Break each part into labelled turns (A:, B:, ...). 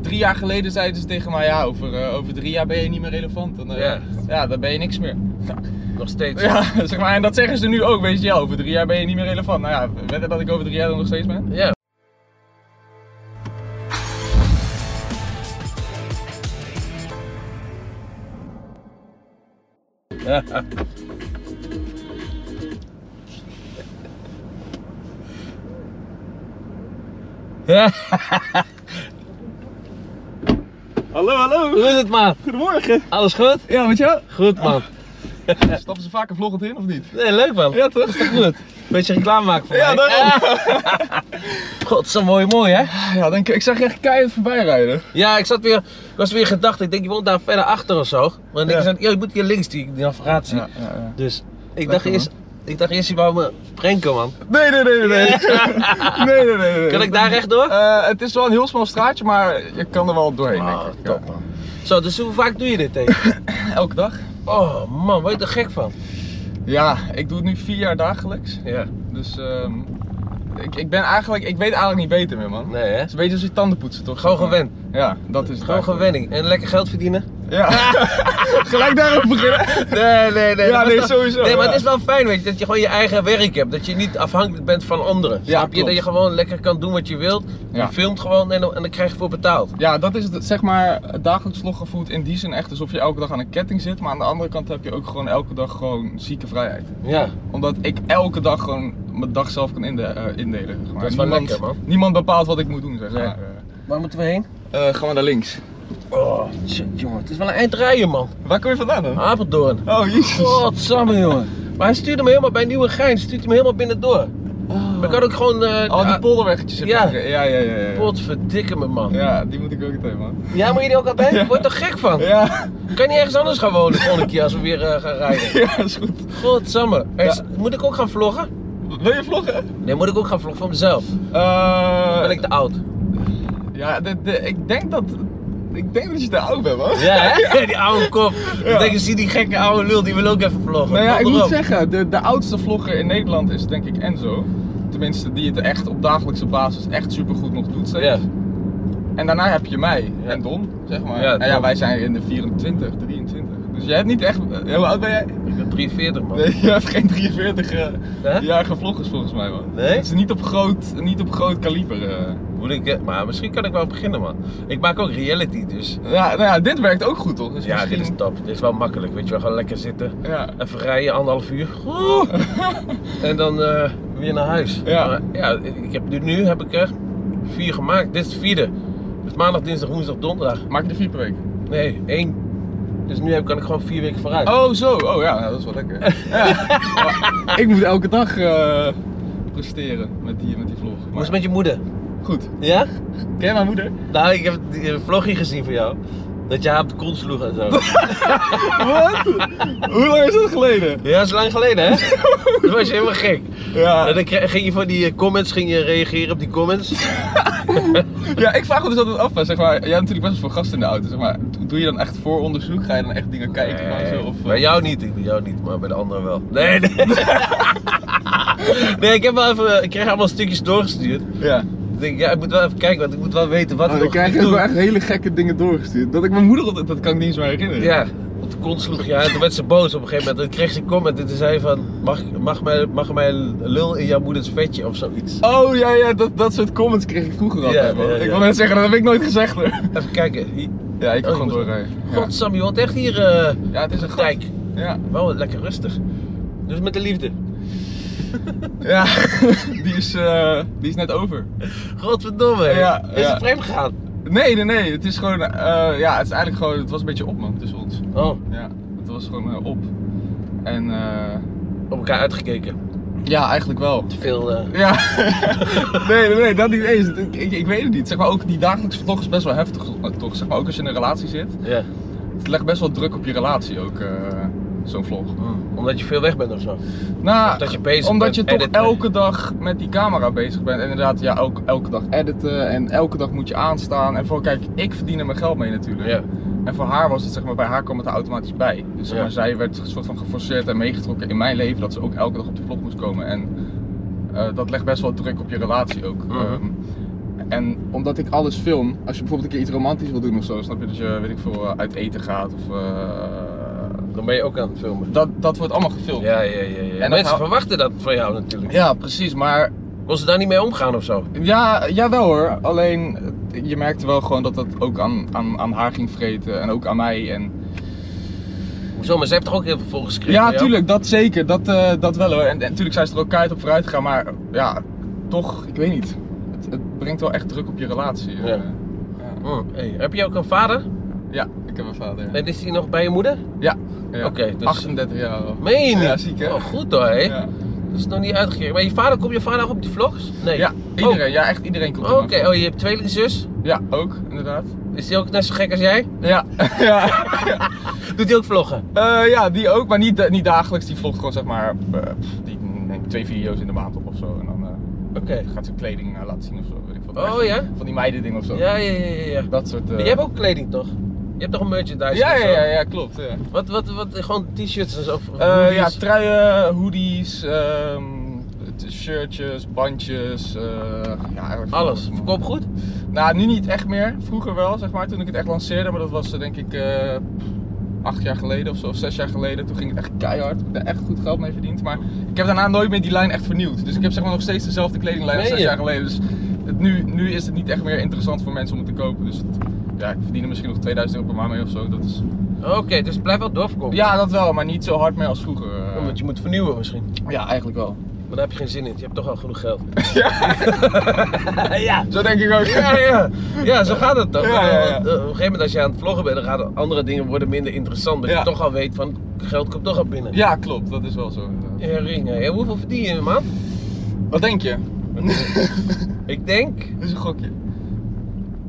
A: drie jaar geleden zeiden ze tegen mij, ja, over, eh, over drie jaar ben je niet meer relevant. Dan, eh,
B: Ja.
A: Ja, dan ben je niks meer.
B: Nog steeds. Ja.
A: Ja, zeg maar, en dat zeggen ze nu ook, weet je wel. Over drie jaar ben je niet meer relevant. Nou ja, weet je dat ik over drie jaar dan nog steeds ben? Hallo, hallo.
B: Hoe is het, man?
A: Goedemorgen.
B: Alles goed?
A: Ja, met jou?
B: Goed, man.
A: Stappen ze vaker vloggend in, of niet?
B: Nee, leuk, man.
A: Ja, toch?
B: Goed. Beetje reclame maken voor
A: Ja,
B: mij.
A: daarom.
B: Ah, God, zo mooi, mooi, hè?
A: Ja, denk ik, ik zag je echt keihard voorbij rijden.
B: Ja, ik zat weer, ik was weer gedacht. Ik denk, je woont daar verder achter of zo. Maar ik
A: Ja.
B: zei, ja, je moet hier links, die, die navigatie.
A: ja, ja.
B: Dus ik
A: Lekker,
B: dacht,
A: man.
B: eerst, ik dacht eerst, je wou me pranken, man.
A: Nee, nee, nee, nee. Nee, nee, nee. nee, nee.
B: Kan ik daar rechtdoor?
A: Eh, het is wel een heel smal straatje, maar je kan er wel doorheen,
B: Ah,
A: denk ik.
B: top,
A: Ja.
B: Zo, dus hoe vaak doe je dit tegen?
A: Elke dag?
B: Oh, man, word je er gek van?
A: Ja, ik doe het nu vier jaar dagelijks.
B: Ja.
A: Dus ehm, ik, ik ben eigenlijk, ik weet eigenlijk niet beter meer, man.
B: Nee, hè?
A: Het is een beetje als je tanden poetsen, toch?
B: Gewoon
A: Zeg maar.
B: gewend.
A: Ja, dat is het
B: Gewoon
A: eigenlijk.
B: gewenning. En lekker geld verdienen?
A: Ja. Gelijk daarop beginnen.
B: Nee, nee, nee.
A: Ja,
B: dat was
A: nee,
B: toch-
A: sowieso,
B: Nee, maar
A: ja.
B: het is wel fijn, weet je, dat je gewoon je eigen werk hebt. Dat je niet afhankelijk bent van anderen.
A: Ja,
B: Snap je? Dat
A: klopt.
B: je gewoon lekker kan doen wat je wilt.
A: Ja.
B: Je filmt gewoon en, dan- en dan krijg je voor betaald.
A: Ja, dat is het, zeg maar, het dagelijks vloggen voelt in die zin echt alsof je elke dag aan een ketting zit. Maar aan de andere kant heb je ook gewoon elke dag gewoon zieke vrijheid.
B: Ja.
A: Omdat ik elke dag gewoon mijn dag zelf kan inde- eh, indelen. zeg maar.
B: Dat is wel
A: niemand,
B: lekker, man.
A: Niemand bepaalt wat ik moet doen, zeg
B: Nee.
A: maar.
B: Waar moeten we heen?
A: Eh, eh, gaan we naar links.
B: Oh, shit, jongen. Het is wel een eind rijden, man.
A: Waar kom je vandaan dan?
B: Apeldoorn.
A: Oh, jezus.
B: Godsamme, jongen. Maar hij stuurde me helemaal bij Nieuwegein. Stuurt hij me helemaal binnendoor. Maar ik had ook gewoon... eh
A: Oh. Al die polderweggetjes heb je
B: Ja.
A: gereden. ja, ja, ja, ja. ja.
B: Potverdikke me, man.
A: Ja, die moet ik ook meteen, man.
B: Ja, moet je die ook altijd? Ik word er gek van.
A: Ja,
B: Kan je niet ergens anders gaan wonen de volgende keer als we weer eh, gaan rijden?
A: ja, is goed.
B: Godsamme. Hey,
A: Ja.
B: s- Moet ik ook gaan vloggen?
A: Wil je vloggen?
B: Nee, moet ik ook gaan vloggen voor mezelf?
A: Eh,
B: Ben ik te oud?
A: Ja, de, de- ik denk dat... Ik denk dat je te oud bent, man.
B: Ja, hè? Die oude kop. Ik denk, zie die gekke oude lul, die wil ook even vloggen.
A: Nou ja, ik
B: Kom
A: moet
B: erop.
A: zeggen, de, de oudste vlogger in Nederland is denk ik Enzo. Tenminste, die het echt op dagelijkse basis echt supergoed nog doet steeds.
B: Ja.
A: En daarna heb je mij
B: Ja.
A: en Don, zeg maar.
B: Ja,
A: en ja,
B: Don.
A: wij zijn in de 24, 23. Dus jij hebt niet echt... eh, Hoe oud ben jij?
B: Ik ben 43, man.
A: Nee, je hebt geen 43-jarige
B: Hè?
A: vloggers volgens mij, man.
B: Nee?
A: Het is niet op groot, niet op groot kaliber. eh.
B: Moet ik, eh, maar misschien kan ik wel beginnen, man. Ik maak ook reality, dus.
A: Ja, nou ja, dit werkt ook goed, toch? Dus
B: Ja, dit
A: misschien-
B: is top. Dit is wel makkelijk, weet je wel. Gewoon lekker zitten.
A: Ja.
B: Even rijden, anderhalf uur. Oeh. En dan eh, weer naar huis.
A: Ja.
B: Maar ja, ik heb, nu, nu heb ik er vier gemaakt. Dit is de vierde. Dus maandag, dinsdag, woensdag, donderdag.
A: Maak je er vier per week?
B: Nee, één. Dus nu heb, kan ik gewoon vier weken vooruit.
A: Oh, zo. Oh ja, nou, dat is wel lekker. ja. Maar ik moet elke dag eh, presteren met die, met die vlog. Maar
B: Hoe is het met je moeder?
A: goed.
B: Ja?
A: Ken je mijn moeder?
B: Nou, ik heb die- een vlogje gezien van jou. Dat je haar op de kont sloeg en zo.
A: Wat? Hoe lang is dat geleden?
B: ja, dat is lang geleden, hè? Toen was je helemaal gek. En
A: Ja.
B: dan kreeg- ging je van die eh, comments, ging je reageren op die comments.
A: ja, ik vraag me dus altijd af, hè, zeg maar. Jij hebt natuurlijk best wel veel gasten in de auto, zeg maar. do- Doe je dan echt vooronderzoek? Ga je dan echt dingen kijken? van zo, of, eh,
B: Bij jou niet, ik- bij jou niet, maar bij de anderen wel. Nee, nee. nee, ik, heb wel even, eh, ik kreeg allemaal stukjes doorgestuurd.
A: Ja.
B: Ik denk, ja, ik moet wel even kijken, want ik moet wel weten wat
A: Oh,
B: ik
A: dan
B: nog
A: krijg je
B: moet
A: ook
B: doen.
A: wel echt hele gekke dingen doorgestuurd. Dat ik mijn moeder altijd, dat kan ik niet eens meer herinneren.
B: Ja, op de kont sloeg je en toen werd ze boos op een gegeven moment. Toen kreeg ze een comment en toen zei van, mag, mag, mijn, mag mijn lul in jouw moeders vetje of zoiets.
A: Oh ja, ja dat, dat soort comments kreeg ik vroeger altijd.
B: Ja,
A: man.
B: ja, ja.
A: Ik wil net zeggen, dat heb ik nooit gezegd hoor.
B: Even kijken. Hier-
A: Ja, ik kan
B: Oh,
A: gewoon
B: je moet-
A: doorrijden. Ja.
B: Godsam, je woont echt hier eh
A: Ja, het is
B: op
A: een
B: de
A: gat.
B: dijk.
A: Ja.
B: Wel lekker rustig. Dus met de liefde.
A: Ja, die is, eh, die is net over.
B: Godverdomme. hè.
A: Ja,
B: Is
A: ja.
B: het vreemd gegaan?
A: Nee, nee, nee. Het is gewoon, eh, ja, het is eigenlijk gewoon, het was een beetje op man tussen ons.
B: Oh,
A: Ja, het was gewoon eh, op. En eh,
B: op elkaar uitgekeken.
A: ja, eigenlijk wel.
B: Te veel. eh,
A: Ja, nee, nee, nee, dat niet eens. Ik, ik, ik weet het niet. Zeg maar ook die dagelijkse vlog is best wel heftig, eh, toch? Zeg maar ook als je in een relatie zit.
B: ja.
A: Het legt best wel druk op je relatie ook, eh, zo'n vlog.
B: Omdat je veel weg bent of zo.
A: Nou,
B: Omdat je bezig
A: omdat
B: bent
A: je toch
B: editen.
A: elke dag met die camera bezig bent. En inderdaad, ja, elke, elke dag editen en elke dag moet je aanstaan. En voor, kijk, ik verdien er mijn geld mee natuurlijk.
B: Ja.
A: En voor haar was het, zeg maar, bij haar kwam het er automatisch bij. Dus zeg
B: Ja.
A: maar, zij werd een soort van geforceerd en meegetrokken in mijn leven dat ze ook elke dag op de vlog moest komen. En eh, dat legt best wel druk op je relatie ook.
B: Mhm.
A: Ehm, En omdat ik alles film, als je bijvoorbeeld een keer iets romantisch wil doen of zo, snap je dat je, weet ik veel, eh, uit eten gaat of... eh,
B: Dan ben je ook aan het filmen.
A: dat, dat wordt allemaal gefilmd.
B: Ja, ja, ja. ja.
A: dan
B: Mensen
A: hou-
B: verwachten dat van jou natuurlijk.
A: Ja, precies, maar
B: Kon ze daar niet mee omgaan of zo?
A: ja, jawel hoor. Alleen eh, je merkte wel gewoon dat dat ook aan, aan, aan haar ging vreten en ook aan mij. En...
B: Hoezo? Maar ze heeft toch ook heel veel volgens geschreven?
A: Ja,
B: voor jou?
A: tuurlijk, dat zeker. Dat, eh, dat wel hoor. En en natuurlijk zijn ze er ook keihard op vooruit gegaan, maar eh, ja, toch, ik weet niet. Het, het brengt wel echt druk op je relatie. eh.
B: Ja. Hm. Hey, heb je ook een vader?
A: Ja, ik heb een vader.
B: En is hij nog bij je moeder?
A: Ja, ja.
B: Oké, dus-
A: 38 jaar al.
B: Meen je niet?
A: Ja, ziek, hè?
B: Oh, goed hoor, hé.
A: Ja.
B: Dat is nog niet uitgekeerd. Maar je vader, komt je vader nog op die vlogs? Nee.
A: Ja, iedereen, ja, echt iedereen komt
B: Oh,
A: er
B: Oké,
A: maar voor.
B: oh, je hebt tweelingzus.
A: Ja, ook, inderdaad.
B: Is die ook net zo gek als jij?
A: Ja, ja.
B: Doet hij ook vloggen?
A: Eh, ja, die ook, maar niet, eh, niet dagelijks. Die vlogt gewoon zeg maar eh, pff, die neemt twee video's in de maand op of zo. En dan eh,
B: Oké.
A: gaat ze kleding eh, laten zien of zo. Weet ik wat.
B: Oh, ja?
A: Van die meiden ding of zo.
B: Ja, ja, ja, ja. ja.
A: Dat soort. eh,
B: Maar jij hebt ook kleding toch? Je hebt toch een merchandise?
A: ja,
B: of
A: ja,
B: zo?
A: ja, ja, klopt. Ja,
B: Wat, wat, wat, gewoon t-shirts en zo? of- of
A: Eh, ja
B: hoodies?
A: truien, hoodies, ehm, t- shirtjes, bandjes. eh, ja, eigenlijk van
B: Alles.
A: man.
B: Verkoop goed?
A: Nou, nu niet echt meer. Vroeger wel, zeg maar, toen ik het echt lanceerde. Maar dat was eh, denk ik eh, acht jaar geleden of zo, of zes jaar geleden. Toen ging het echt keihard. Ik heb daar echt goed geld mee verdiend. Maar ik heb daarna nooit meer die lijn echt vernieuwd. Dus ik heb zeg maar nog steeds dezelfde kledinglijn als
B: Meen
A: zes
B: je?
A: jaar geleden. Dus het, nu, nu is het niet echt meer interessant voor mensen om het te kopen. Dus het- ja, ik verdien er misschien nog 2000 euro per maand mee of zo. Dat is...
B: Oké, dus blijf wel doorverkopen.
A: Ja, dat wel, maar niet zo hard meer als vroeger. eh.
B: Omdat je moet vernieuwen misschien.
A: Ja, eigenlijk wel.
B: Maar daar heb je geen zin in. Je hebt toch al genoeg geld.
A: Ja,
B: ja.
A: zo denk ik ook.
B: Ja, ja. ja, zo gaat het toch.
A: Ja, ja, ja.
B: Want, eh, Op een gegeven moment als je aan het vloggen bent, dan gaan andere dingen worden minder interessant. Dat
A: Ja.
B: je toch al weet van, geld komt toch al binnen.
A: Ja, klopt, dat is wel zo. inderdaad.
B: Ja, ring. hè. Hoeveel verdien je in een maand?
A: Wat denk je?
B: Ik denk
A: Dat is een gokje.
B: 80.000.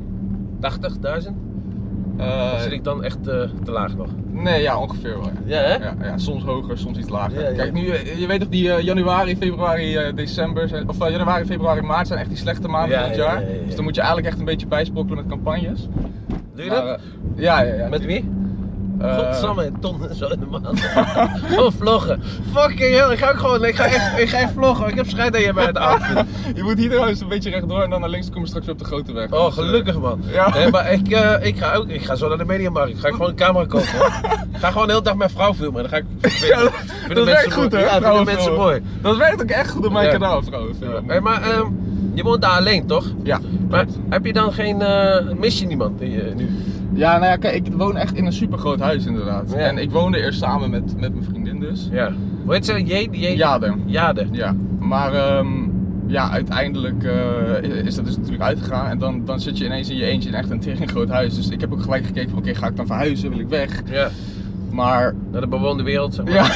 A: Eh,
B: Of zit ik dan echt eh, te laag nog?
A: Nee, ja, ongeveer wel. Ja.
B: Ja, hè?
A: Ja, ja, soms hoger, soms iets lager.
B: Ja, ja.
A: Kijk, nu, eh, je weet toch, die eh, januari, februari, eh, december, zijn, of eh, januari, februari, maart zijn echt die slechte maanden
B: Ja,
A: van het
B: ja,
A: jaar.
B: ja, ja, ja.
A: Dus dan moet je eigenlijk echt een beetje bijsprokkelen met campagnes.
B: Doe je
A: Maar,
B: dat?
A: eh, ja, ja, ja.
B: Met wie?
A: Eh,
B: Godsamme, en ton en zo in de maand. Gewoon vloggen. Fucking hell, ik ga ook gewoon, ik ga echt, ik ga echt vloggen. Ik heb schijt dat je mij het aanvindt.
A: je moet hier trouwens een beetje rechtdoor en dan naar links komen we straks weer op de grote weg.
B: Oh,
A: Dus, eh,
B: gelukkig man.
A: Ja.
B: Nee, maar ik, eh, ik ga ook, ik ga zo naar de mediamarkt. Ik ga gewoon een camera kopen. hoor. Ik ga gewoon de hele dag mijn vrouw filmen. Dan ga ik.
A: Ja, dat-
B: vinden
A: dat
B: mensen
A: werkt goed, hè?
B: mooi. Ja, vinden
A: trouwens,
B: mensen
A: wel.
B: mooi.
A: Dat werkt ook echt goed op mijn
B: Ja.
A: kanaal, trouwens. Ja.
B: Hey, maar ehm, je woont daar alleen toch?
A: ja.
B: Maar heb je dan geen. eh, mis je niemand die, eh, nu?
A: Ja, nou ja, kijk, ik woon echt in een supergroot huis inderdaad.
B: Ja.
A: En ik woonde eerst samen met, met mijn vriendin dus.
B: Ja. Hoe heet ze? Jade? Jade?
A: Jader.
B: Jade.
A: Ja, maar ehm, ja, uiteindelijk eh, is dat dus natuurlijk uitgegaan. En dan, dan zit je ineens in je eentje in echt een tering groot huis. Dus ik heb ook gelijk gekeken van oké, ga ik dan verhuizen? Wil ik weg?
B: Ja.
A: Maar
B: Naar de bewoonde wereld, zeg maar.
A: ja,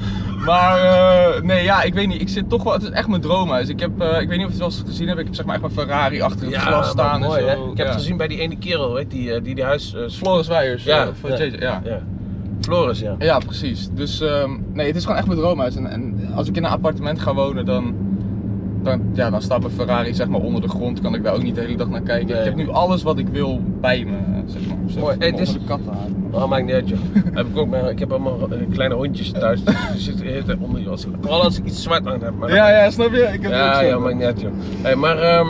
A: maar eh, nee, ja, ik weet niet. Ik zit toch wel, het is echt mijn droomhuis. Ik, heb, eh, ik weet niet of je het wel eens gezien hebt. Ik heb zeg maar echt mijn Ferrari achter het
B: Ja,
A: glas
B: maar
A: staan
B: mooi,
A: en
B: hè?
A: zo.
B: Ik heb
A: ja.
B: het gezien bij die ene kerel, weet, die, eh, die die huis... eh, Flo-
A: Floris Weijers
B: Ja,
A: ja, van
B: ja.
A: JJ, ja.
B: ja. Floris, ja.
A: Ja, precies. Dus ehm, nee, het is gewoon echt mijn droomhuis. En, en als ik in een appartement ga wonen, dan, dan, ja, dan staat mijn Ferrari zeg maar onder de grond. Kan ik daar ook niet de hele dag naar kijken.
B: Nee.
A: Ik heb nu alles wat ik wil bij me, eh, zeg maar. Zo,
B: Mooi. Hey,
A: onder
B: dit is-
A: de kattenhaar.
B: Oh, maakt niet uit, joh. heb ik, ook, maar ik heb allemaal eh, kleine hondjes thuis, dus die zitten de hele tijd onder je als Vooral als ik iets zwart aan heb. Maar
A: Ja, ja, snap je? Ik heb het ook
B: ja,
A: zo.
B: ja, maakt niet uit, joh. Hey, maar ehm,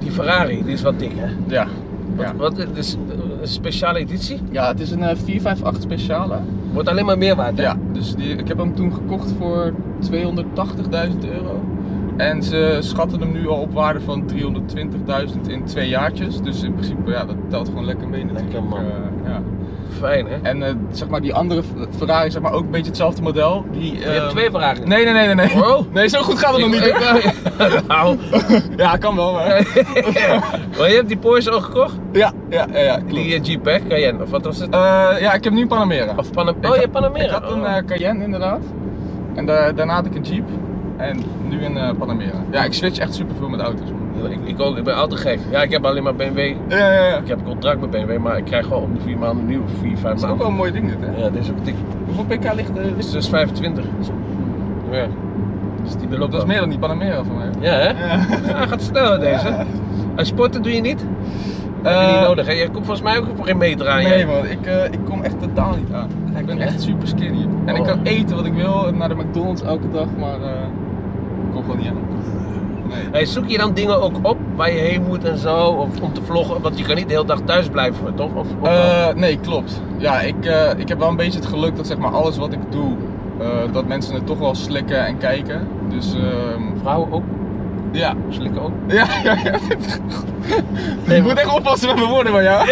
B: die Ferrari, die is wat dik, hè?
A: ja.
B: Wat,
A: Ja.
B: wat dit is eh, een speciale editie?
A: Ja, het is een eh, 458 speciale.
B: Wordt alleen maar meer waard, hè?
A: Ja, dus die, ik heb hem toen gekocht voor 280.000 euro. En ze schatten hem nu al op waarde van 320.000 in twee jaartjes. Dus in principe, ja, dat telt gewoon lekker mee natuurlijk.
B: Lekker, man.
A: Eh, ja.
B: Fijn, hè?
A: En eh, zeg maar die andere F- Ferrari, zeg maar ook een beetje hetzelfde model. Die, ehm,
B: Je hebt twee Ferrari's.
A: Nee, nee, nee, nee. Nee,
B: Wow.
A: nee zo goed gaat het nog niet.
B: Ik-
A: hoor.
B: ik- nou,
A: ja, kan wel, maar.
B: maar je hebt die Porsche al gekocht?
A: Ja, ja, ja, ja. klopt.
B: Die eh, Jeep, hè? Cayenne, of wat was het?
A: Eh, ja, ik heb nu een Panamera.
B: Of Panamera.
A: Ik
B: Oh,
A: had-
B: je hebt Panamera.
A: Ik had een
B: Oh.
A: eh, Cayenne inderdaad. En daar- daarna had ik een Jeep. En nu een eh, Panamera. Ja, ik switch echt super veel met auto's. man.
B: Ik, eh, ik ook, ik ben altijd gek. Ja, ik heb alleen maar BMW.
A: Ja, ja, ja.
B: Ik heb een contract met BMW, maar ik krijg gewoon om de vier maanden nieuw, vier, vijf
A: Dat is ook Eh, wel
B: maanden.
A: een mooi ding dit, hè?
B: Ja, dit is ook dik.
A: Hoeveel pk ligt er?
B: Dit is dus 25. Ja. Dus die wil ook
A: dat is
B: wel.
A: meer dan die Panamera van mij.
B: Ja, hè?
A: Ja.
B: Ja, gaat sneller deze. En sporten doe je niet? Dat heb je
A: Eh,
B: niet nodig, hè? Je komt volgens mij ook op geen meter aan.
A: Nee
B: jij.
A: man, ik, eh, ik kom echt totaal niet aan. Ik ben echt super skinny. En ik
B: Oh.
A: kan eten wat ik wil, naar de McDonald's elke dag, maar eh, ik kom gewoon niet aan. Nee.
B: Hey, zoek je dan dingen ook op waar je heen moet en zo? Of om te vloggen? Want je kan niet de hele dag thuis blijven, toch? Of, of wel?
A: Eh, nee, klopt. Ja, ik, eh, ik heb wel een beetje het geluk dat zeg maar alles wat ik doe, eh, dat mensen het toch wel slikken en kijken. Dus ehm,
B: vrouwen ook?
A: ja.
B: Slikken ook?
A: Ja, ja, ja. Ik moet echt oppassen met mijn woorden van jou.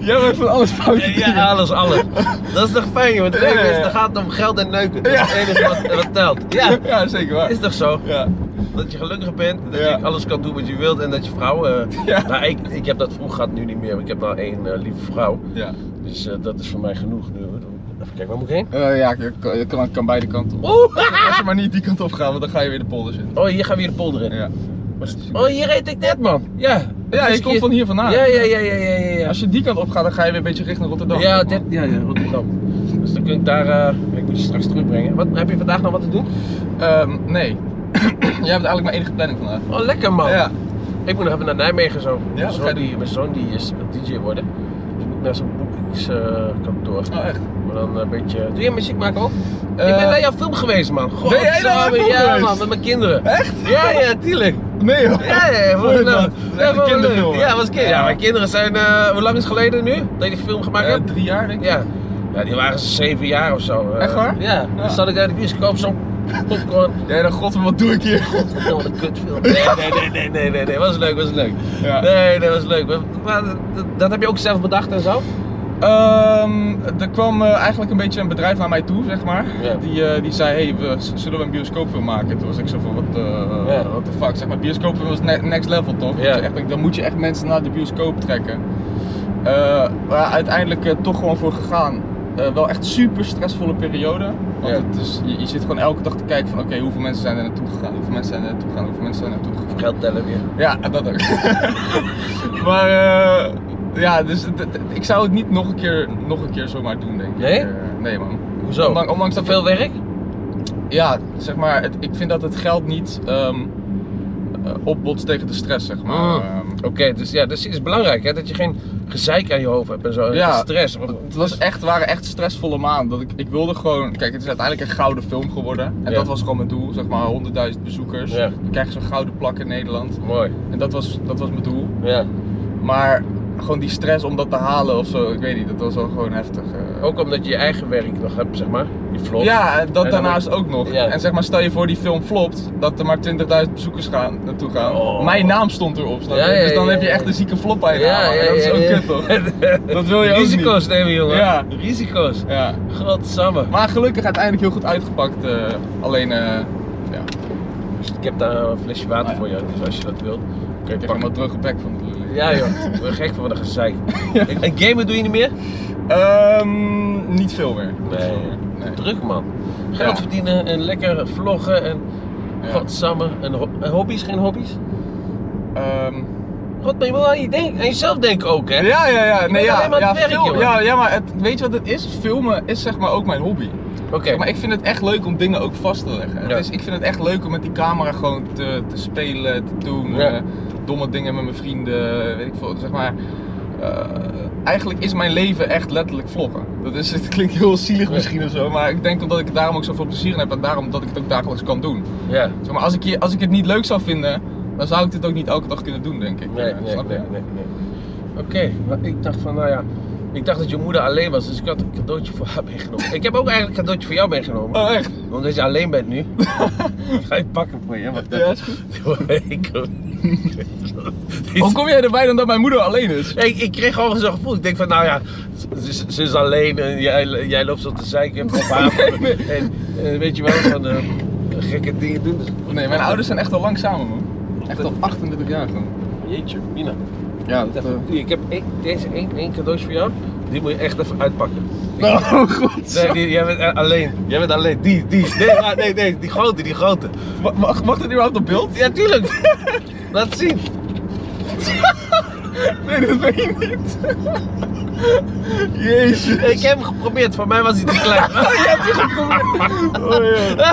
A: Jij bent van alles fout.
B: Ja, alles, alles. Dat is toch fijn, joh? Het leuke
A: Ja, ja,
B: is,
A: ja.
B: het gaat om geld en neuken. Dat is
A: Ja.
B: het enige wat, wat telt. Ja,
A: ja, zeker waar.
B: is toch zo?
A: Ja.
B: Dat je gelukkig bent, dat
A: Ja.
B: je alles kan doen wat je wilt en dat je vrouwen... eh,
A: Ja.
B: Nou, ik, ik heb dat vroeg gehad, nu niet meer. Ik heb al één eh, lieve vrouw.
A: Ja,
B: Dus eh, dat is voor mij genoeg nu. hoor. Even kijken, waar moet ik heen?
A: Eh, ja je kan, je kan, kan beide kanten op.
B: Oeh!
A: Als je maar niet die kant op gaat, want dan ga je weer de polder zitten.
B: Oh, hier gaan we weer de polder in.
A: Ja,
B: Oh, hier reed ik net, man. Ja.
A: ja je
B: Dus
A: komt van hier vandaan.
B: Ja, ja, ja, ja, ja, ja. ja.
A: Als je die kant op gaat, dan ga je weer een beetje richting Rotterdam.
B: Ja, dit, ja, ja, Rotterdam. Dus dan kun ik daar, eh, ik moet je straks terugbrengen. Wat, heb je vandaag nog wat te doen?
A: Ehm, nee. Jij hebt eigenlijk mijn enige planning vandaag.
B: Oh, lekker man.
A: Ja.
B: Ik moet nog even naar Nijmegen zo.
A: ga
B: mijn,
A: je
B: zoon die, mijn zoon die is DJ worden. Dus ik moet naar zo'n boekingskantoor.
A: Oh, echt?
B: maar dan een beetje. Doe jij muziek maken ook? ik
A: Eh,
B: ben bij jouw film geweest man. God,
A: Ben jij daar bij
B: Ja
A: film geweest?
B: man, met mijn kinderen.
A: Echt?
B: Ja, ja, tuurlijk.
A: Nee hoor.
B: Ja, ja, ja,
A: Mooi,
B: vond
A: man.
B: ik leuk.
A: Dat is echt
B: Ja,
A: een
B: vond ik leuk.
A: kinderfilm, hè?
B: Ja, was kind. Ja, mijn kinderen zijn, eh, hoe lang is het geleden nu? Dat je die film gemaakt
A: Eh,
B: hebt?
A: drie jaar denk ik.
B: Ja. ja, die waren zeven jaar of zo. eh.
A: Echt waar?
B: Ja.
A: Ja.
B: Dan zat ik uit de bioscoop zo'n popcorn.
A: Jij dan, god, wat doe ik hier?
B: Oh, wat een kutfilm. Nee, nee, nee, nee, nee, nee, nee. Was leuk, was leuk.
A: Ja.
B: Nee, dat was leuk. Maar- maar dat, dat heb je ook zelf bedacht en zo?
A: Ehm, er kwam eh, eigenlijk een beetje een bedrijf naar mij toe, zeg maar.
B: Ja.
A: Die, eh, die zei, hey, we, z- zullen we een bioscoopfilm maken? Toen was ik zo van, wat eh
B: Ja.
A: what the fuck? Zeg maar, bioscoopfilm was ne- next level, toch?
B: Ja.
A: Dat je echt denkt, dan moet je echt mensen naar de bioscoop trekken. Eh, maar uiteindelijk eh, toch gewoon voor gegaan. Eh, wel echt super stressvolle periode. Want
B: Ja.
A: het is, je, je zit gewoon elke dag te kijken van, oké, hoeveel mensen zijn er naartoe gegaan? Hoeveel mensen zijn er naartoe gegaan? Hoeveel mensen zijn er naartoe gegaan?
B: Geld tellen weer.
A: Ja, dat ook. maar eh, ja, dus d- d- ik zou het niet nog een keer, nog een keer zomaar doen, denk ik.
B: Nee?
A: Eh, nee, man.
B: Hoezo?
A: Ondanks, ondanks dat
B: Veel werk?
A: Ja, zeg maar, het- ik vind dat het geld niet ehm, eh, opbotst tegen de stress, zeg maar.
B: Mm.
A: Ehm,
B: Oké, dus ja, dus het is belangrijk hè, dat je geen gezeik aan je hoofd hebt en zo. en
A: Ja.
B: Stress.
A: het was echt, waren echt stressvolle maanden. Dat ik, ik wilde gewoon. Kijk, het is uiteindelijk een gouden film geworden. En
B: Ja.
A: dat was gewoon mijn doel, zeg maar 100.000 bezoekers.
B: Ja.
A: Dan krijg je zo'n gouden plak in Nederland.
B: Mooi.
A: En dat was, dat was mijn doel.
B: Ja.
A: Maar gewoon die stress om dat te halen of zo, ik weet niet, dat was wel gewoon heftig. eh.
B: Ook omdat je je eigen werk nog hebt, zeg maar. Je vlog.
A: Ja, en dat
B: En dan
A: daarnaast ook nog.
B: Ja.
A: En zeg maar, stel je voor die film flopt, dat er maar 20.000 bezoekers gaan, naartoe gaan.
B: Oh.
A: Mijn naam stond erop, snap je?
B: Ja, ja,
A: dus dan
B: ja,
A: heb je
B: ja.
A: echt een zieke flop aan je naam hangen. Dat is ook kut, toch? Dat wil je ook niet.
B: Risico's nemen, jongen.
A: Ja.
B: Risico's.
A: Ja.
B: Godsamme.
A: Maar gelukkig uiteindelijk heel goed uitgepakt. eh, alleen, eh ja,
B: Ik heb daar een flesje water
A: Ah, ja.
B: voor jou, dus als je dat wilt, kun
A: ik
B: je
A: heb helemaal
B: pakken.
A: droge bek van de lullen.
B: Ja joh, ik ben gek van wat een gezeik. En gamen doe je niet meer?
A: Ehm, niet veel meer. Niet veel meer. Nee.
B: Druk man. Geld
A: Ja.
B: verdienen en lekker vloggen en
A: Ja.
B: godsamme. En, ho- en hobby's, geen hobby's?
A: Ehm,
B: God, maar je moet aan, je denk- aan jezelf denken ook hè?
A: ja, ja, ja. Nee,
B: bent
A: ja,
B: alleen maar aan
A: ja,
B: het werk,
A: film-
B: jongen.
A: ja, ja, maar het, weet je wat het is? Filmen is zeg maar ook mijn hobby.
B: Oké.
A: Maar ik vind het echt leuk om dingen ook vast te leggen.
B: Ja.
A: Dus ik vind het echt leuk om met die camera gewoon te, te spelen, te doen.
B: Ja.
A: eh, domme dingen met mijn vrienden, weet ik veel. Zeg maar, eh, eigenlijk is mijn leven echt letterlijk vloggen. Dat is, het klinkt heel zielig
B: Ja.
A: misschien of zo, maar ik denk omdat ik er daarom ook zoveel plezier in heb en daarom dat ik het ook dagelijks kan doen.
B: Ja.
A: Zeg maar, als ik, hier, als ik het niet leuk zou vinden, dan zou ik dit ook niet elke dag kunnen doen, denk ik.
B: Nee,
A: Eh,
B: nee,
A: snap je?
B: nee, nee. nee. Oké, maar ik dacht van, nou ja. Ik dacht dat je moeder alleen was, dus ik had een cadeautje voor haar meegenomen. Ik heb ook eigenlijk een cadeautje voor jou meegenomen.
A: Oh, echt?
B: Omdat je alleen bent nu. ik ga je pakken voor je, wacht
A: Ja, is goed.
B: even. ik,
A: Hoe kom jij erbij dan dat mijn moeder alleen is?
B: ik, ik kreeg gewoon zo'n gevoel. Ik denk van, nou ja, ze, ze- ze is alleen en jij, jij loopt zo te zeiken op haar. En eh, weet je wel, van eh, gekke dingen doen. Dus,
A: Nee, mijn ouders zijn echt al lang samen, man. Echt al 38 jaar gewoon.
B: Jeetje, Mina.
A: Ja,
B: Wacht even. Ik heb één- deze één, één cadeautje voor jou. Die moet je echt even uitpakken.
A: Oh, god.
B: Nee, die, jij bent eh, alleen. Jij bent alleen. Die, die. Nee, maar- nee, nee, die grote, die grote.
A: Mag, mag dit überhaupt op beeld?
B: Ja, tuurlijk. Laat zien.
A: Nee, dat weet je niet. Jezus.
B: Ik heb hem geprobeerd, voor mij was hij te klein.
A: Oh, ja.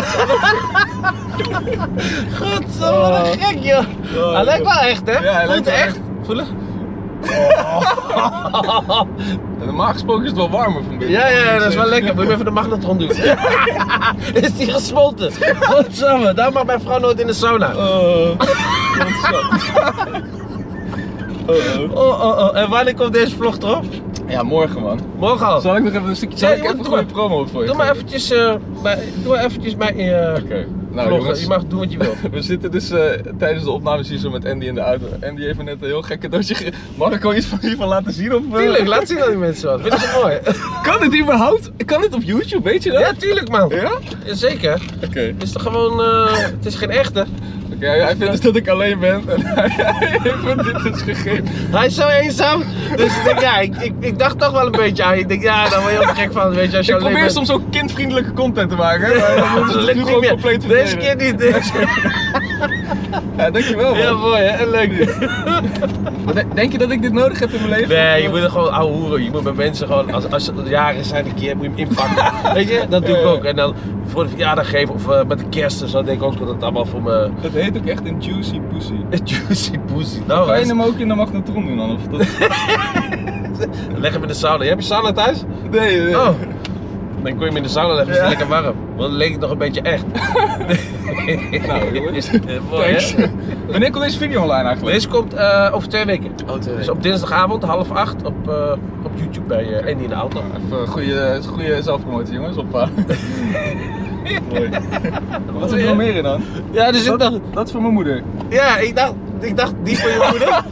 B: God, wat een gek joh.
A: Oh,
B: hij lijkt
A: joh.
B: wel echt, hè?
A: Ja, hij
B: Voelt
A: lijkt wel
B: echt.
A: echt.
B: Voelen?
A: Normaal gesproken is het wel warmer van binnen.
B: Ja, ja, dat is wel lekker. Moet je even de magnetron doen. is die gesmolten? Godsamme, daar mag mijn vrouw nooit in de sauna.
A: Oh.
B: Oh, oh. oh, oh, oh. En wanneer komt deze vlog erop?
A: Ja, morgen man.
B: Morgen al.
A: Zal ik nog even een stukje.
B: Ja,
A: Zal ik
B: joh,
A: even een
B: doe maar.
A: goede promo voor je?
B: Doe maar
A: geven?
B: eventjes, eh, bij, doe maar eventjes mijn eh,
A: Oké. Nou,
B: vlog.
A: jongens.
B: Je mag doen wat je wilt.
A: We zitten dus eh, tijdens de opnames hier zo met Andy in de auto. Andy heeft me net een heel gek cadeautje ge... Mag ik al iets van hiervan laten zien? Of, eh,
B: Tuurlijk, laat zien aan die mensen wat. Vind je het mooi?
A: Kan dit überhaupt? Kan dit op YouTube, weet je dat?
B: Ja, tuurlijk man.
A: Ja?
B: Zeker.
A: Oké.
B: Het is toch gewoon, eh, het is geen echte.
A: Oké, hij vindt dus dat ik alleen ben en hij heeft me dit dus gegeven.
B: Hij is zo eenzaam. Dus ik denk, ja, ik, ik, ik dacht toch wel een beetje aan je. Ik denk, ja, daar word je ook gek van. Weet je, als je
A: Ik
B: alleen
A: probeer
B: bent.
A: soms ook kindvriendelijke content te maken, maar dat is
B: Dat
A: dus
B: lukt
A: nu
B: niet
A: gewoon
B: meer.
A: compleet
B: Deze keer
A: verdwenen.
B: niet. Deze keer.
A: Ja, dankjewel
B: Heel
A: man.
B: mooi hè, en leuk.
A: Maar de- Denk je dat ik dit nodig heb in mijn leven?
B: Nee, je moet er gewoon ouwe hoeren. Je moet bij mensen gewoon, als, als ze jaren zijn, een keer moet je hem inpakken. Weet je, dat doe ik
A: Ja, ja.
B: ook. En dan voor de verjaardag geven of eh, met de kerst of zo, denk ik ook dat het allemaal voor me.
A: Dat heet ook echt een juicy pussy.
B: Juicy pussy. Nou,
A: Kan je
B: wijs.
A: hem ook in de magnetron doen dan? Of dat...
B: leg hem in de sauna. Heb je sauna thuis?
A: Nee, nee.
B: Oh. Dan kon je hem in de sauna leggen, is
A: Ja.
B: het lekker warm. Want dan leek het nog een beetje echt.
A: Nou, jongens.
B: Eh, mooi, hè?
A: Thanks. Wanneer komt deze video online eigenlijk?
B: Deze komt eh, over twee weken.
A: Oh, twee
B: Dus op dinsdagavond, half acht, op, eh, op YouTube bij eh, Andy in de auto.
A: Even goede, goede zelfpromotie jongens, oppa. Mooi. Wat zit er nog meer in dan?
B: Ja, dus ik dacht,
A: Dat, dat is voor mijn moeder.
B: ja, ik dacht, ik dacht die voor je moeder,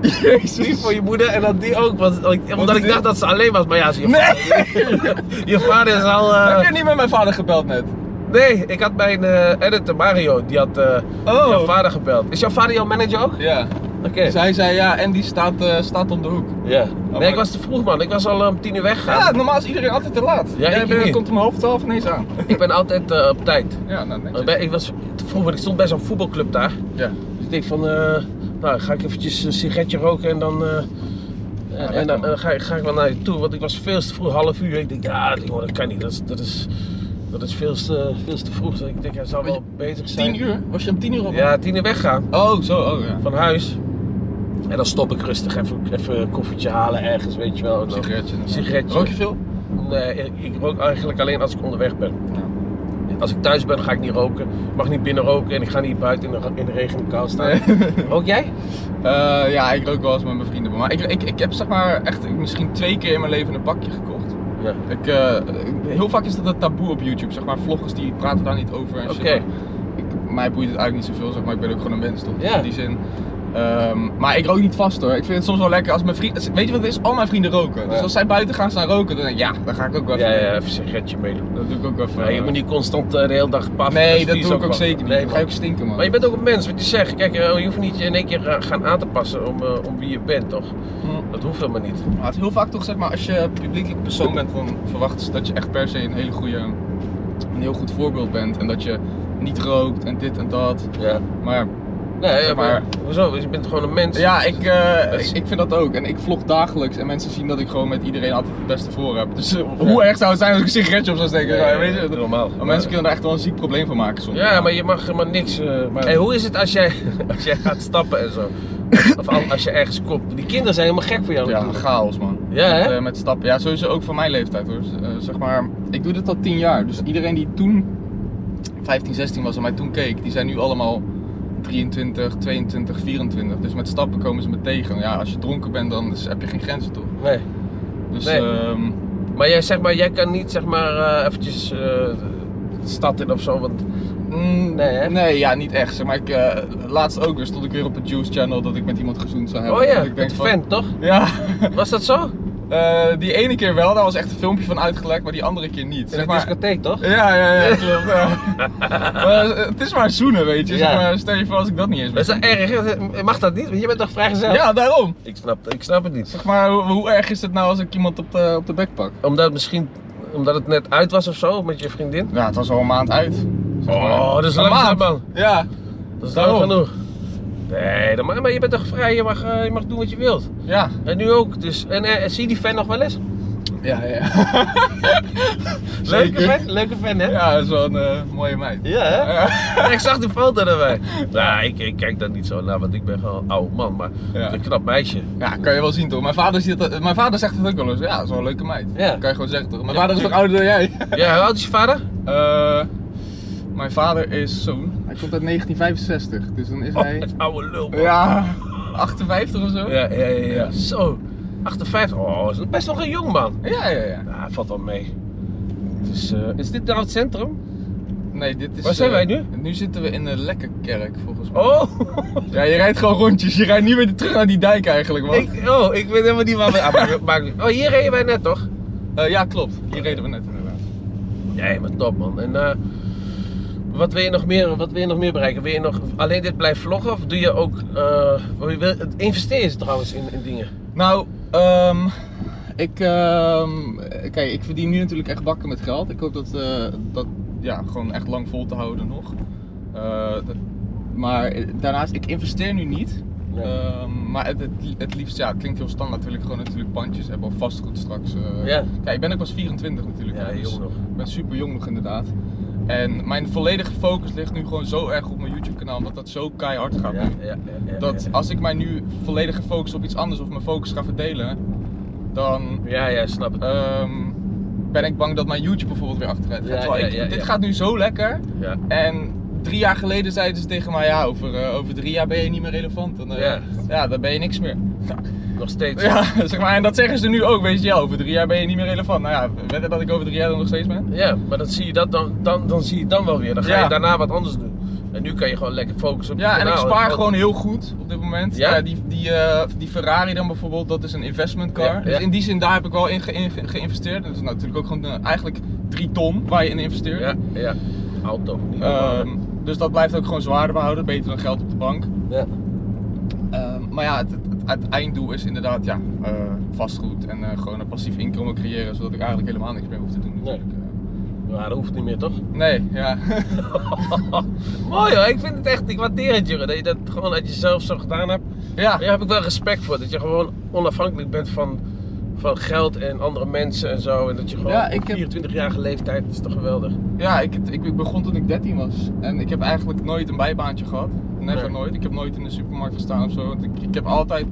B: die
A: Jezus.
B: voor je moeder en dan die ook. Want, ik-
A: Wat
B: omdat ik
A: is
B: dacht dat ze alleen was, maar ja, ze- je,
A: Nee!
B: je vader is al... eh,
A: Heb je niet met mijn vader gebeld net?
B: nee, ik had mijn eh, editor Mario, die had eh,
A: Oh.
B: jouw vader gebeld. Is jouw vader jouw manager ook?
A: Ja.
B: Oké.
A: Dus hij zei ja, en die staat, eh, staat om de hoek.
B: Ja.
A: maar-
B: Nee, ik was te vroeg man, ik was al eh, om tien uur weggegaan.
A: Ja, normaal is iedereen altijd te laat.
B: Ja,
A: Jij
B: ik
A: bent-
B: niet.
A: komt om half twaalf ineens aan.
B: Ik ben altijd eh, op tijd.
A: Ja, nou
B: Ik,
A: niks.
B: ben- ik was te vroeg, want ik stond bij zo'n voetbalclub daar.
A: Ja.
B: Dus ik denk van, eh, nou ga ik eventjes een sigaretje roken en dan, eh, en,
A: Ah, lekker,
B: dan
A: man.
B: eh, ga, ik- ga ik wel naar je toe. Want ik was veel te vroeg, half uur. Ik denk, ja jongen, dat kan niet. Dat is, dat is, dat is veel, te, veel te vroeg. Dus ik denk, hij zal
A: Want
B: wel bezig zijn.
A: Tien uur? Was je om tien uur op?
B: Ja, tien uur weggaan
A: Oh, zo, oh ja.
B: van huis. En dan stop ik rustig even, even een koffietje halen ergens, weet je wel. En dan-
A: Sigaretje. inderdaad.
B: Sigaretje.
A: Rook je veel?
B: Nee, Eh, ik, ik rook eigenlijk alleen als ik onderweg ben.
A: Ja.
B: Als ik thuis ben, ga ik niet roken. Ik mag niet binnen roken en ik ga niet buiten in de, in de regen en de kou staan.
A: Nee.
B: Rook jij?
A: Eh, ja, ik rook wel eens met mijn vrienden. Maar ik, ik, ik heb zeg maar echt misschien twee keer in mijn leven een pakje gekocht.
B: Ja.
A: Ik, eh, heel vaak is dat een taboe op YouTube. Zeg maar, vloggers die praten daar niet over en shit.
B: Oké.
A: Maar Ik, mij boeit het eigenlijk niet zoveel, zeg maar. Ik ben ook gewoon een mens, toch?
B: Ja.
A: In die zin. Ehm, maar ik rook niet vast hoor. Ik vind het soms wel lekker als mijn vrienden. Weet je wat het is? Al mijn vrienden roken. Dus
B: Ja.
A: als zij buiten gaan staan roken, dan denk ik ja, dan ga ik ook wel
B: Ja,
A: even.
B: ja, even een sigaretje meedoen.
A: Dat doe ik ook wel even.
B: Maar je moet niet constant eh, de hele dag paffen.
A: Nee,
B: is
A: dat
B: vies
A: doe ik ook
B: man.
A: zeker niet.
B: Nee,
A: dan ga je ook
B: man.
A: stinken man.
B: Maar je bent ook een mens, wat je zegt. Kijk, eh, je hoeft niet in één keer eh, gaan aan te passen om, eh, om wie je bent, toch?
A: Hm.
B: Dat hoeft helemaal niet.
A: Maar het is heel vaak toch, zeg maar, als je publiekelijk persoon bent, dan verwachten ze dat je echt per se een hele goede, een heel goed voorbeeld bent. En dat je niet rookt en dit en dat.
B: Ja.
A: Maar
B: Nee,
A: Zeg
B: ja, maar...
A: maar-
B: Hoezo? Je bent gewoon een mens.
A: ja, ik, eh, ik, ik vind dat ook. En ik vlog dagelijks en mensen zien dat ik gewoon met iedereen altijd het beste voor heb. Dus eh, hoe erg zou het zijn als ik een sigaretje op zou steken?
B: Ja, ja,
A: weet
B: ja,
A: je, dat-
B: normaal.
A: maar mensen kunnen er echt wel een ziek probleem van maken soms.
B: Ja, maar je mag helemaal niks. eh maar... Hey, hoe is het als jij, als jij gaat stappen en zo? Of al- als je ergens komt. Die kinderen zijn helemaal gek voor jou.
A: Ja,
B: natuurlijk.
A: chaos man.
B: Ja,
A: Met,
B: hè?
A: eh, met stappen. Ja, sowieso ook van mijn leeftijd hoor. Dus, eh, zeg maar, ik doe dit al tien jaar. Dus iedereen die toen 15, 16 was en mij toen keek, die zijn nu allemaal 23, 22, 24. Dus met stappen komen ze me tegen. Ja, als je dronken bent, dan is- heb je geen grenzen toch?
B: Nee.
A: Dus
B: Nee.
A: ehm,
B: Maar jij, zeg maar, jij kan niet zeg maar eh, eventjes eh, de stad in of zo. Want
A: mm,
B: Nee, hè?
A: nee, ja, niet echt. Zeg maar, ik, eh, laatst ook weer stond ik weer op het Juice Channel dat ik met iemand gezoend zou hebben.
B: oh ja,
A: Dat ik
B: met de
A: van-
B: vent toch?
A: Ja,
B: Was dat zo?
A: Eh, die ene keer wel, daar was echt een filmpje van uitgelekt, maar die andere keer niet.
B: In
A: Zeg
B: de
A: maar,
B: discotheek toch?
A: Ja, ja, ja, klopt. ja. maar eh, het is maar zoenen, weet je.
B: Ja.
A: Zeg maar, stel je voor als ik dat niet eens
B: Dat is
A: ben.
B: dat erg? hè? Mag dat niet? Want je bent toch vrijgezel?
A: Ja, daarom.
B: Ik snap, ik snap het niet.
A: Zeg maar, hoe, hoe erg is het nou als ik iemand op de, op de bek pak?
B: Omdat het misschien omdat het net uit was of zo met je vriendin?
A: Ja, het was al een maand uit. Zeg maar.
B: Oh, dat is
A: Een
B: lang,
A: maand.
B: man.
A: Ja.
B: Dat is
A: Daarom.
B: lang genoeg. Nee, dan, maar, maar je bent toch vrij, je mag, eh, je mag doen wat je wilt.
A: Ja.
B: En nu ook, dus. En eh, zie je die fan nog wel eens?
A: Ja, ja.
B: Leuke fan, leuke fan hè?
A: Ja, dat is wel een eh, mooie meid.
B: Ja, hè?
A: Ja.
B: Ja, ik zag die foto erbij. Nou, ik, ik kijk daar niet zo naar, want ik ben gewoon een oude man, maar
A: Ja.
B: een knap meisje.
A: Ja, kan je wel zien toch? Mijn vader, ziet dat, mijn vader zegt het ook wel eens. Ja, dat is wel een leuke meid.
B: Ja.
A: Kan je gewoon zeggen toch? Mijn
B: Ja,
A: vader is ook ouder dan jij.
B: Ja, hoe oud is je vader?
A: Eh, mijn vader is zo'n. Hij komt uit 1965, dus dan is
B: Oh,
A: hij.
B: het oude lul. man.
A: Ja, 58 of zo?
B: Ja, ja, ja, ja. Zo, 58. Oh, is best nog een jong man.
A: ja, ja. ja.
B: Nou, valt wel mee. Het is, eh, is dit nou het centrum?
A: Nee, dit is.
B: Waar zijn
A: eh,
B: wij nu?
A: Nu zitten we in de Lekkerkerk volgens mij.
B: Oh,
A: Ja, je rijdt gewoon rondjes. Je rijdt niet meer terug naar die dijk eigenlijk, man.
B: ik, oh ik weet helemaal niet waar we aan Oh, hier reden wij net toch?
A: Eh, ja, klopt. Hier reden we net inderdaad.
B: Nee, maar top man. En eh, wat, wil je nog meer, wat wil je nog meer bereiken? Wil je nog alleen dit blijven vloggen of doe je ook... eh, wil je- wil, investeer je trouwens in, in dingen?
A: Nou, ehm, ik, ehm, kijk, ik verdien nu natuurlijk echt bakken met geld. Ik hoop dat, eh, dat ja, gewoon echt lang vol te houden nog. Eh, dat- maar daarnaast, ik investeer nu niet.
B: Nee.
A: Ehm, maar het, het, het liefst, ja, het klinkt heel standaard, wil ik gewoon natuurlijk pandjes hebben of vastgoed straks. eh.
B: Ja.
A: Kijk, ik ben ook pas 24 natuurlijk.
B: Ja,
A: hè, dus
B: jong nog.
A: Ik ben super jong nog inderdaad. En mijn volledige focus ligt nu gewoon zo erg op mijn YouTube kanaal, omdat dat zo keihard gaat. nu.
B: ja, ja,
A: Dat
B: ja.
A: als ik mij nu volledig ga focussen op iets anders of mijn focus ga verdelen, dan
B: Ja, ja, snap het.
A: ehm, ben ik bang dat mijn YouTube bijvoorbeeld weer achteruit gaat.
B: Ja,
A: Terwijl
B: ja,
A: ik-
B: ja,
A: dit
B: ja.
A: gaat nu zo lekker.
B: Ja.
A: En drie jaar geleden zeiden ze tegen mij, ja, over, eh, over drie jaar ben je niet meer relevant. Dan, eh,
B: Ja.
A: ja, dan ben je niks meer.
B: Nog steeds.
A: Ja, zeg maar, en dat zeggen ze nu ook, weet je wel. Over drie jaar ben je niet meer relevant. Nou ja, weet je dat ik over drie jaar dan nog steeds ben?
B: Ja, maar dan zie je dat dan, dan, dan zie je dan wel weer. Dan ga
A: Ja.
B: je daarna wat anders doen. En nu kan je gewoon lekker focussen op je
A: Ja, en ik
B: kanaal.
A: spaar gewoon heel goed op dit moment.
B: Ja?
A: Ja? die, die, eh, die Ferrari dan bijvoorbeeld, dat is een investment car.
B: Ja,
A: Dus
B: ja.
A: in die zin, daar heb ik wel in ge- in ge- geïnvesteerd. Dat is natuurlijk ook gewoon eh, eigenlijk 3 ton waar je in investeert.
B: Ja, ja. Auto. niet normaal.
A: Ehm, dus dat blijft ook gewoon zwaarder behouden, beter dan geld op de bank.
B: ja.
A: Ehm, maar ja, het, het, het einddoel is inderdaad ja, eh, vastgoed en eh, gewoon een passief inkomen creëren, zodat ik eigenlijk helemaal niks meer hoef te doen.
B: Nee.
A: Natuurlijk. Eh,
B: Maar dat hoeft niet meer, toch?
A: Nee, ja.
B: Mooi hoor, ik vind het echt, ik waardeer het jongen, dat je dat gewoon uit jezelf zo gedaan hebt.
A: ja.
B: Daar heb ik wel respect voor, dat je gewoon onafhankelijk bent van, van geld en andere mensen en zo. En dat je gewoon
A: Ja, ik
B: op
A: heb-
B: 24-jarige leeftijd, dat is toch geweldig.
A: Ja, ik, ik, ik begon toen ik 13 was. En ik heb eigenlijk nooit een bijbaantje gehad. Never
B: Nee.
A: nooit. Ik heb nooit in de supermarkt gestaan of zo. Want ik, ik heb altijd,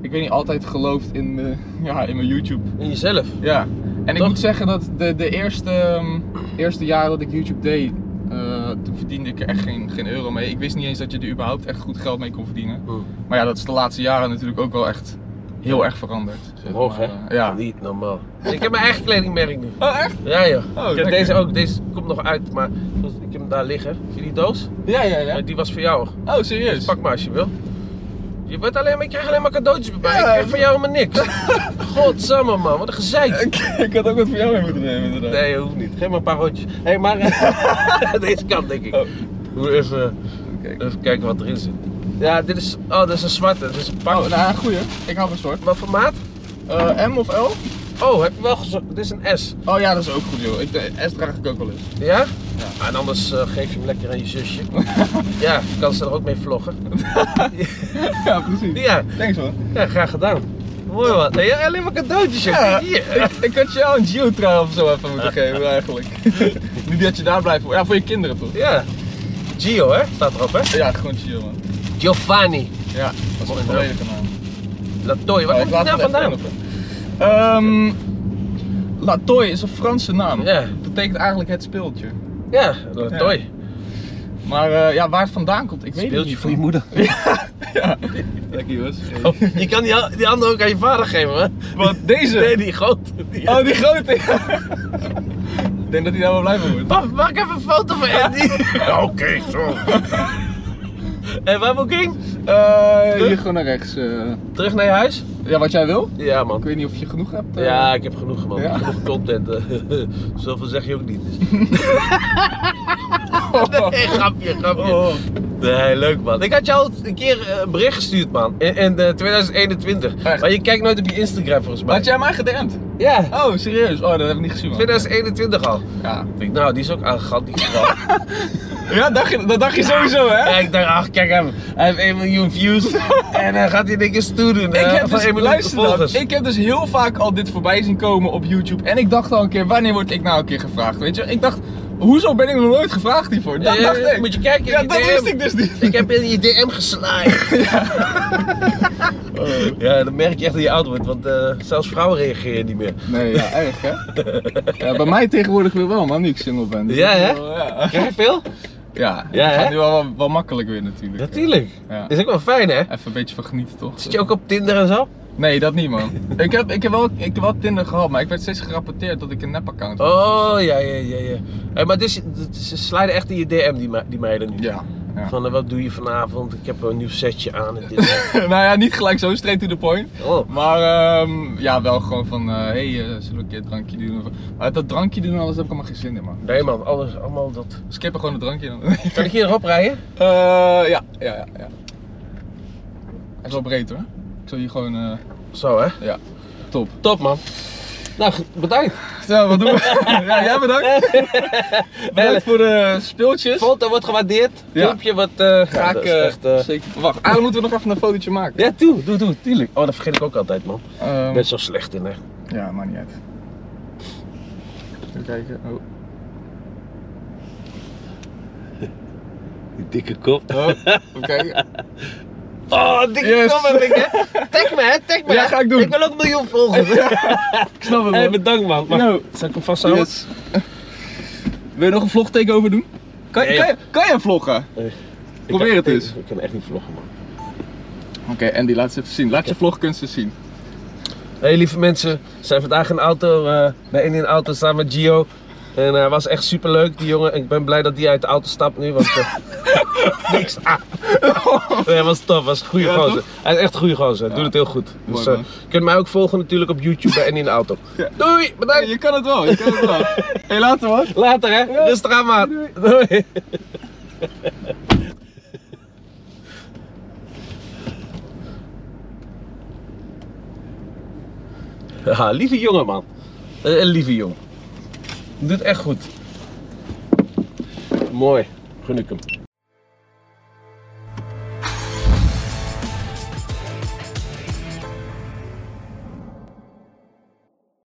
A: ik weet niet, altijd geloofd in mijn, ja, in mijn YouTube.
B: In jezelf.
A: Ja. En ik
B: Toch?
A: moet zeggen dat de, de eerste, ehm, eerste jaren dat ik YouTube deed, eh, toen verdiende ik er echt geen, geen euro mee. Ik wist niet eens dat je er überhaupt echt goed geld mee kon verdienen. Maar ja, dat is de laatste jaren natuurlijk ook wel echt heel erg veranderd. Zeg
B: Hoog hè?
A: maar, eh, ja.
B: Niet normaal. Ik heb mijn eigen kledingmerk nu.
A: Oh, echt?
B: Ja joh. ik heb
A: lekker.
B: deze ook, deze komt nog uit, maar ik heb hem daar liggen. Zie je die doos?
A: Ja, ja, ja.
B: Eh, Die was voor jou.
A: Oh, serieus?
B: Dus pak maar als je wil. Je, wordt alleen maar, je krijgt alleen maar cadeautjes bij mij.
A: Ja.
B: Ik krijg van jou helemaal niks. Godsamme man, wat een gezeik.
A: Ik, ik had ook wat voor jou mee moeten nemen inderdaad.
B: Nee, hoeft niet. Geef maar een paar rondjes. Hé, hey, maar eh, deze kant denk ik.
A: Oh.
B: Hoe even,
A: Kijk.
B: even kijken wat erin zit. Ja, dit is. Oh, dat is een zwarte. Dat is een pak.
A: Oh, nou, een goeie. Ik hou van zwart.
B: Wat voor maat?
A: Eh, M of L?
B: Oh, heb je wel gezocht? Dit is een S.
A: Oh ja, dat is ook goed, joh. Ik, de S draag ik ook wel eens.
B: Ja? Ja. En anders eh, geef je hem lekker aan je zusje. ja, kan ze er ook mee vloggen.
A: ja, precies.
B: Ja,
A: Thanks, man.
B: ja graag gedaan. Mooi man. Nee, ja, alleen maar cadeautjes. joh.
A: Ja.
B: Hier.
A: Ik had jou een geotrui of zo even moeten geven, eigenlijk. nu dat je daar blijft voor. Ja, voor je kinderen toch?
B: Ja. Gio, hè? Staat erop, hè?
A: Ja, gewoon chill, man.
B: Giovanni.
A: Ja, dat is
B: Mooi
A: mijn
B: naam.
A: volledige naam.
B: Latoy. Waar
A: Oh,
B: komt
A: laat
B: die nou
A: het
B: vandaan?
A: even op, hè. Ehm, Latoy is een Franse naam.
B: Ja.
A: Dat betekent eigenlijk het speeltje.
B: Ja, Latoy.
A: Maar eh, ja, waar het vandaan komt, ik weet het
B: Speeltje
A: niet.
B: voor je moeder.
A: Ja. Lekker, jongens.
B: Oh, je kan die, an- die andere ook aan je vader geven, hè?
A: Wat, deze?
B: Nee, die grote. Die...
A: Oh, die grote. ik denk dat hij daar wel blij van wordt.
B: Pap, maak even een foto van Andy. Oké, zo. En waar moet ik heen?
A: hier gewoon naar rechts. eh.
B: Terug naar je huis?
A: Ja, wat jij wil.
B: Ja,
A: Ik
B: man.
A: weet niet of je genoeg hebt. eh.
B: Ja, ik heb genoeg, man.
A: Ja.
B: Genoeg content. eh. Zoveel zeg je ook niet. Dus.
A: Oh.
B: Hey, grapje, grapje.
A: Oh.
B: Nee, leuk man. Ik had jou al een keer eh, een bericht gestuurd, man. In, in eh, 2021.
A: Echt?
B: Maar je kijkt nooit op je Instagram, volgens mij.
A: Had jij mij gedempt?
B: Ja.
A: Oh, serieus? Oh, dat heb ik niet gezien, man.
B: 2021 al.
A: Ja,
B: Ik denk, nou, die is ook aangegaan, die geval.
A: ja dacht je, dat dacht je sowieso, hè?
B: Ja, ik dacht, ach, kijk hem. Hij heeft 1 miljoen views. en dan gaat hij niks toe doen.
A: Ik
B: eh,
A: heb,
B: van
A: dus,
B: 1 miljoen
A: luister dan,
B: volgers.
A: ik heb dus heel vaak al dit voorbij zien komen op YouTube. En ik dacht al een keer, wanneer word ik nou een keer gevraagd? Weet je, ik dacht, hoezo ben ik nog nooit gevraagd hiervoor? Dat
B: Eh,
A: dacht ik.
B: Moet je kijken. in
A: ja,
B: je
A: dat
B: DM.
A: wist ik dus niet.
B: Ik heb in je DM geslaaid. Oh. Ja, dan merk je echt dat je oud wordt, want eh, zelfs vrouwen reageren niet meer.
A: Nee, ja, erg hè? Ja, bij mij tegenwoordig weer wel, man, nu ik single ben. Dus
B: Ja,
A: dat is
B: hè?
A: wel- ja.
B: Krijg je veel?
A: Ja,
B: Ja,
A: het gaat
B: hè?
A: nu wel, wel, wel makkelijk weer natuurlijk.
B: Natuurlijk.
A: Ja.
B: Is ook wel fijn, hè?
A: Even een beetje van genieten toch?
B: Zit je ook op Tinder en zo?
A: Nee, dat niet man. ik, heb, ik, heb wel, ik heb wel Tinder gehad, maar ik werd steeds gerapporteerd dat ik een nep-account had.
B: Oh, ja, ja, ja. ja. Hé, maar dit, is- dit is- ze slijden echt in je DM, die, me- die meiden nu.
A: Ja. ja.
B: Van, eh, wat doe je vanavond? Ik heb een nieuw setje aan en dit.
A: nou ja, niet gelijk zo straight to the point.
B: Oh.
A: Maar ehm, ja, wel gewoon van, hé, hey, eh, zullen we een keer een drankje doen? Of- Maar dat drankje doen en alles heb ik allemaal geen zin in man.
B: Nee man, alles, allemaal dat.
A: Skippen gewoon een drankje dan.
B: Kan ik hier nog oprijden?
A: Eh, ja, ja, ja, ja. Hij is wel breed hoor. Ik zal hier gewoon, eh,
B: Zo hè.
A: ja, top.
B: Top man. Nou, g- bedankt.
A: Zo, wat doen we? ja, jij bedankt. bedankt voor de speeltjes.
B: Foto wordt gewaardeerd.
A: Ja.
B: Filmpje wat eh
A: Ga
B: ga
A: ik
B: ik...
A: eh,
B: echt, eh,
A: zeker. Wacht, ah, dan moeten we nog even een fotootje maken.
B: Ja, doe, doe, doe, tuurlijk. Oh, dat vergeet ik ook altijd man.
A: Ehm,
B: Ik ben zo slecht in hè.
A: ja, maakt niet uit. Even kijken. Oh.
B: Die dikke kop.
A: Oh, even kijken.
B: Oh, dikke
A: Yes.
B: kop heb ik hè. Tag me hè, tag me.
A: Ja,
B: hè.
A: ga ik doen.
B: Ik wil ook een miljoen volgers.
A: Ik snap het
B: Hé,
A: man.
B: bedankt man. Mag,
A: Nou.
B: Zal ik hem vasthouden?
A: Yes. Wil je nog een vlogteken over doen? Kan,
B: Ja, ja.
A: kan, je- kan jij vloggen?
B: Ik
A: Probeer
B: kan-
A: het eens.
B: Ik, ik kan echt niet vloggen man.
A: Oké, Andy, laat ze even zien. Laat je vlogkunsten zien.
B: Hey lieve mensen, we zijn vandaag in de auto, eh, bij in in de auto samen met Gio. En eh, hij was echt super leuk, die jongen. En ik ben blij dat hij uit de auto stapt nu, want eh, niks aan. Nee, hij was top, was een goede
A: Ja,
B: gozer.
A: toch?
B: Hij is echt een goede gozer, hij doet het heel goed.
A: Mooi,
B: Dus eh,
A: man.
B: je kunt mij ook volgen natuurlijk op YouTube bij in in de auto.
A: Ja.
B: Doei,
A: Hey,
B: bedankt.
A: je kan het wel, je kan het wel. hey, later man.
B: Later hè, rustig aan maat. Doei. Ja, lieve jongen man. Eh, Een lieve jongen. Doet echt goed. Mooi. Gun ik hem.